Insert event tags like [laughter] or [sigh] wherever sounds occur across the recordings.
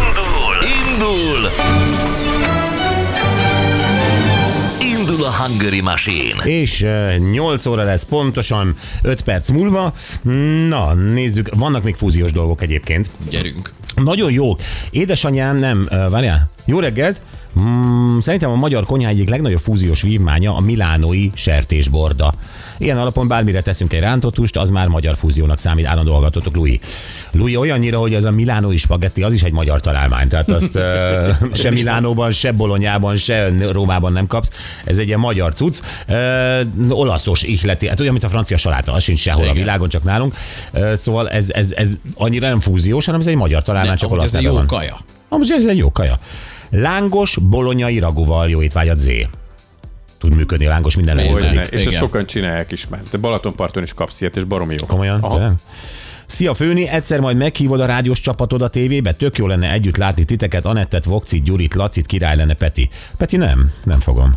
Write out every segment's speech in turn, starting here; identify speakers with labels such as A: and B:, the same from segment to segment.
A: Indul! Indul! Indul a Hungary Machine!
B: És eh, 8 óra lesz pontosan, 5 perc múlva. Na, nézzük, vannak még fúziós dolgok egyébként.
C: Gyerünk.
B: Nagyon jó. Édesanyám nem, eh, várjál, jó reggelt. Mm, szerintem a magyar konyha egyik legnagyobb fúziós vívmánya a milánói sertésborda. Ilyen alapon bármire teszünk egy rántott húst, az már magyar fúziónak számít, állandó hallgatotok, Lui. Lui olyannyira, hogy az a milánói spagetti, az is egy magyar találmány. Tehát azt eh, se Milánóban, se Bolonyában, se Rómában nem kapsz. Ez egy ilyen magyar cucc. Ö, olaszos ihleti, hát olyan, mint a francia saláta, az sincs sehol Igen. a
C: Igen.
B: világon, csak nálunk. Ö, szóval ez, ez, ez annyira nem fúziós, hanem ez egy magyar találmány,
C: Nem,
B: Hát csak
C: amúgy
B: olasz
C: ez
B: neve
C: egy jó
B: van.
C: kaja.
B: Amúgy ez egy jó kaja. Lángos bolonyai ragúval jó étvágyat Z. Tud működni lángos minden
C: Hogyne.
B: lehetőleg.
D: Hogyne. És ezt
C: Igen.
D: sokan csinálják is már. De Balatonparton is kapsz ilyet, és baromi jó.
B: Komolyan?
D: Aha.
B: Tényleg? Szia Főni, egyszer majd meghívod a rádiós csapatod a tévébe, tök jó lenne együtt látni titeket, Anettet, Vokcit, Gyurit, Lacit, király lenne Peti. Peti nem, nem fogom.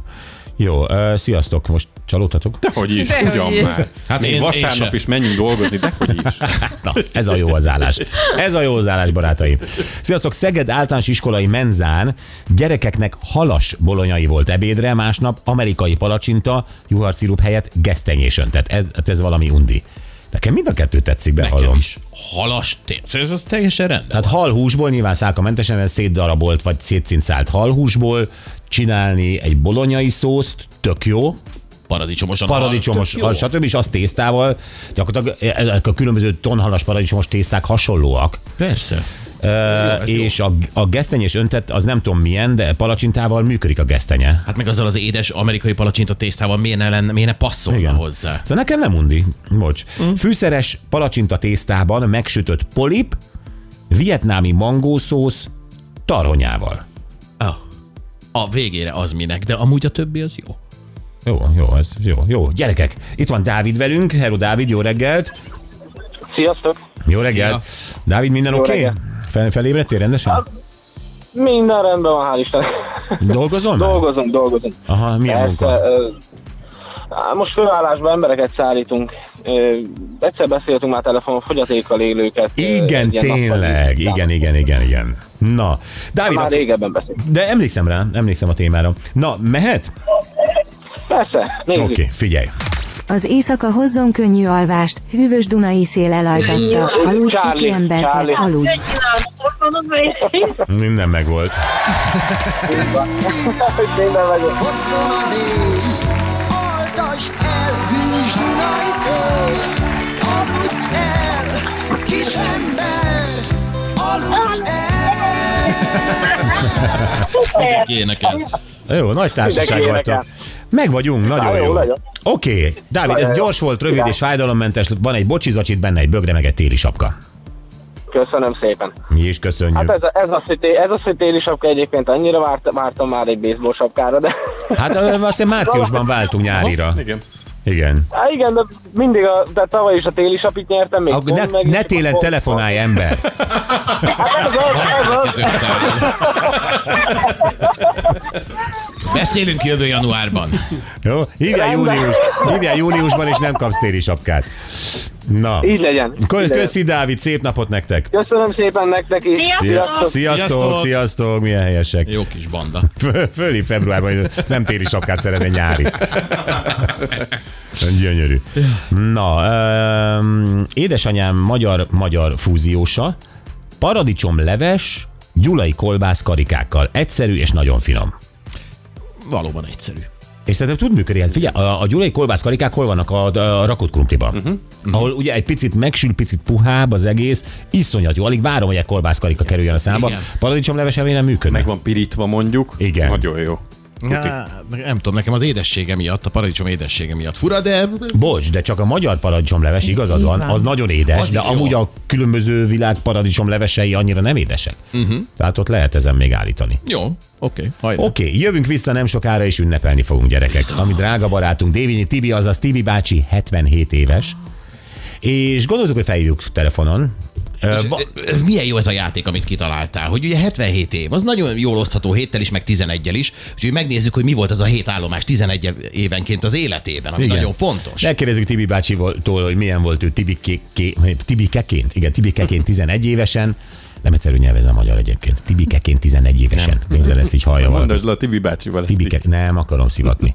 B: Jó, ö, sziasztok, most csalódtatok?
D: Dehogy is,
E: Dehogy
D: ugyan
E: is.
D: már. Hát
C: én-
D: Még
C: én
D: vasárnap
C: se.
D: is menjünk dolgozni, dehogy is.
B: Na, ez a jó az állás. Ez a jó az állás, barátaim. Sziasztok, Szeged általános iskolai menzán gyerekeknek halas bolonyai volt ebédre, másnap amerikai palacsinta, juharszirup helyett gesztenyés öntett. Ez, hát ez valami undi. Nekem mind a kettő tetszik,
C: Nekem
B: bevallom.
C: is. Halas tér. Szerintem az teljesen rendben.
B: Tehát halhúsból, nyilván szálkamentesen, ez szétdarabolt vagy szétszincált halhúsból csinálni egy bolonyai szószt, tök jó,
C: Paradicsomosan.
B: paradicsomos,
C: hal,
B: hal,
C: Ah, tök jó.
B: stb. és azt tésztával, gyakorlatilag ezek a különböző tonhalas paradicsom tészták hasonlóak.
C: Persze.
B: Ö,
C: ez jó.
B: és a, a gesztenyés öntett, az nem tudom milyen, de palacsintával működik a gesztenye.
C: Hát meg azzal az édes amerikai palacsinta tésztával miért ne, lenne, miért ne passzolna Igen. hozzá?
B: Szóval nekem nem undi, bocs. Mm. Fűszeres palacsinta tésztában megsütött polip, vietnámi mangószósz tarhonyával.
C: Ah, a végére az minek, de amúgy a többi az jó.
B: Jó, jó, ez jó, jó. Gyerekek, itt van Dávid velünk. Hello Dávid, jó reggelt.
F: Sziasztok!
B: Jó reggelt. Dávid, minden
F: Jó
B: oké?
F: reggelt.
B: Fel, felébredtél rendesen?
F: Minden rendben van, hál' [laughs] Isten.
B: Dolgozol már?
F: Dolgozunk, dolgozunk.
B: Aha, milyen
F: Persze,
B: munka?
F: ö, á, Most főállásban embereket szállítunk. Ö, Egyszer beszéltünk már telefonon fogyatékkal élőket. ö,
B: Igen,
F: egy ilyen
B: tényleg.
F: nappali-
B: Igen, igen, igen, igen. Na, Dávid,
F: Már
B: ak-
F: régebben beszéltünk.
B: de emlékszem rá, emlékszem a témára. Na, mehet?
F: Persze, nézzük.
B: Oké, okay, figyelj.
G: Az éjszaka hozzon könnyű alvást, hűvös Dunai szél elajtatta. Aludj
F: Charlie,
G: kicsi
F: Charlie.
G: emberke, aludj.
B: Minden megvolt.
F: Minden vagyok.
H: Hosszom az ég, oltas el, bűs Dunai szél, aludj el, kis ember, aludj el.
C: Énekel.
B: Jó, nagy társaság
F: Mindenki
B: vagytok.
F: énekel.
B: Meg vagyunk, nagyon
F: Na, jó,
B: jó.
F: legyen.
B: Oké, okay. Dávid, ez
F: Nagyon jó.
B: gyors volt, rövid
F: Igen.
B: és fájdalommentes. Van egy bocsizacsit, benne egy bögre, meg egy téli sapka.
F: Köszönöm szépen.
B: Mi is köszönjük.
F: Hát ez, a- ez, az, hogy té- ez az, hogy téli sapka egyébként annyira várt, vártam már egy baseball sapkára, de...
B: Hát ö, azt hiszem márciusban váltunk nyárira.
D: Igen.
B: Igen.
F: Há, igen, de mindig a, de tavaly is a téli sapit nyertem, még
B: Akkor ne,
F: pont meg-
B: ne télen telefonálj, ember.
F: Hát ez az, ez az.
C: Ezek száll. Beszélünk jövő januárban.
B: Jó? Hívjál,
F: Rendben.
B: június, hívjál júniusban, és nem kapsz téli sapkát. Na.
F: Így legyen. Így
B: Kö-
F: legyen.
B: Köszi, Dávid, szép napot nektek.
F: Köszönöm szépen nektek is.
B: Szia- Sziasztok,
C: Sziasztok.
B: sziasztok, milyen helyesek.
C: Jó kis banda.
B: Fö- Fölé februárban nem téli sapkát szeretne nyári. Gyönyörű. Na, öm, édesanyám magyar-magyar fúziósa, paradicsom leves, gyulai kolbász karikákkal. Egyszerű és nagyon finom.
C: Valóban egyszerű.
B: És szerintem tud működni. Hát figyelj, a, a gyulai kolbászkarikák hol vannak? A, a rakott krumpliban. Uh-huh. Ahol ugye egy picit megsül, picit puhább az egész. Iszonyat jó. Alig várom, hogy egy kolbászkarika kerüljön a számba.
C: Igen.
B: Paradicsomleves elvé nem működnek.
D: Meg van pirítva mondjuk.
B: Igen.
D: Nagyon jó.
C: Há, nem tudom, nekem az édessége miatt, a paradicsom édessége miatt fura, de
B: Bocs, de csak a magyar paradicsomleves, igazad van, az nagyon édes, az
C: Az
B: de
C: jó.
B: amúgy a különböző világ paradicsomlevesei annyira nem édesek.
C: Mhm.
B: Uh-huh. Tehát ott lehet ezen még állítani.
C: jó, oké, hajrá.
B: Oké, okay, jövünk vissza nem sokára, és ünnepelni fogunk gyerekek. Ami drága barátunk, Dévényi Tibi, azaz Tibi bácsi, 77 éves. És gondoltuk, hogy felhívjuk telefonon, Ö,
C: És
B: va-
C: ez milyen jó ez a játék, amit kitaláltál, hogy ugye 77 év, az nagyon jól osztható héttel is, meg 11-el is, úgyhogy megnézzük, hogy mi volt az a hét állomás 11 évenként az életében, ami
B: Igen.
C: Igen. nagyon fontos.
B: Megkérdezzük Tibi bácsival, hogy milyen volt ő Tibikeké- Tibikeként. Igen, Tibikeként 11 évesen. Nem egyszerű nyelv ez a magyar egyébként. Tibikeként 11 évesen. Képzel ezt így hallja valaki.
D: Mondasd le a Tibi bácsival ezt
B: Tibike,
D: így.
B: nem akarom szivatni.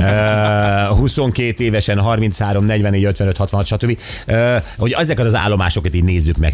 B: Ö, 22 évesen, 33, 44, 55, 66, stb. Ö, Hogy ezeket az állomásokat így nézzük meg.